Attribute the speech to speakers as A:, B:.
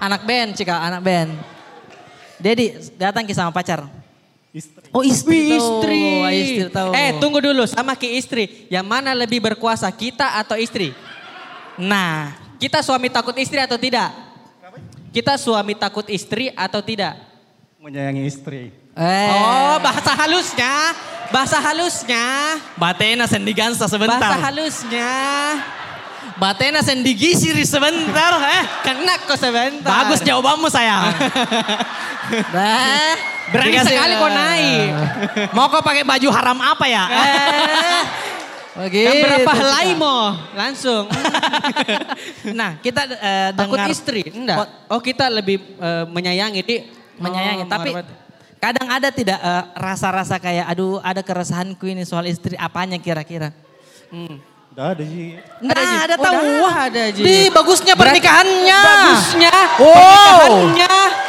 A: Anak band, Cika, anak band. Dedi datang ki sama pacar.
B: Istri.
A: Oh
C: Wih,
A: istri,
C: istri.
A: tahu. Wah, istri tahu.
C: Eh tunggu dulu sama ki istri. Yang mana lebih berkuasa kita atau istri?
A: Nah,
C: Kita suami takut istri atau tidak? Kita suami takut istri atau tidak?
B: Menyayangi istri.
A: eh.
C: Oh bahasa halusnya. Bahasa halusnya.
D: Batena sendigansa
C: Bahasa
D: sebentar.
C: halusnya.
D: Batena sendigisiri sebentar. Eh,
C: Kena kok sebentar.
D: bagus jawabanmu sayang.
A: Bah.
C: Berani
D: Dikasih-
C: sekali kau naik.
D: Mau kau pakai baju haram apa ya?
C: Eh,
A: Begitu.
C: yang berapa
A: Cika.
C: helai mo? Langsung.
A: Nah, kita eh,
C: Takut
A: dengar
C: istri? Enggak. Oh kita lebih eh, menyayangi. Di.
A: menyayangi,
C: Oh,
A: tapi
C: menghormati.
A: kadang ada tidak eh, rasa-rasa kayak aduh ada keresahanku ini soal istri apanya kira-kira?
B: Udah ada sih.
A: Nah,
C: Ji.
A: ada
C: Oh,
A: tahu.
C: dah
A: Wah,
C: ada, Ji.
A: Di bagusnya
C: Berarti-
A: pernikahannya.
C: Bagusnya,
A: Wow.
C: pernikahannya.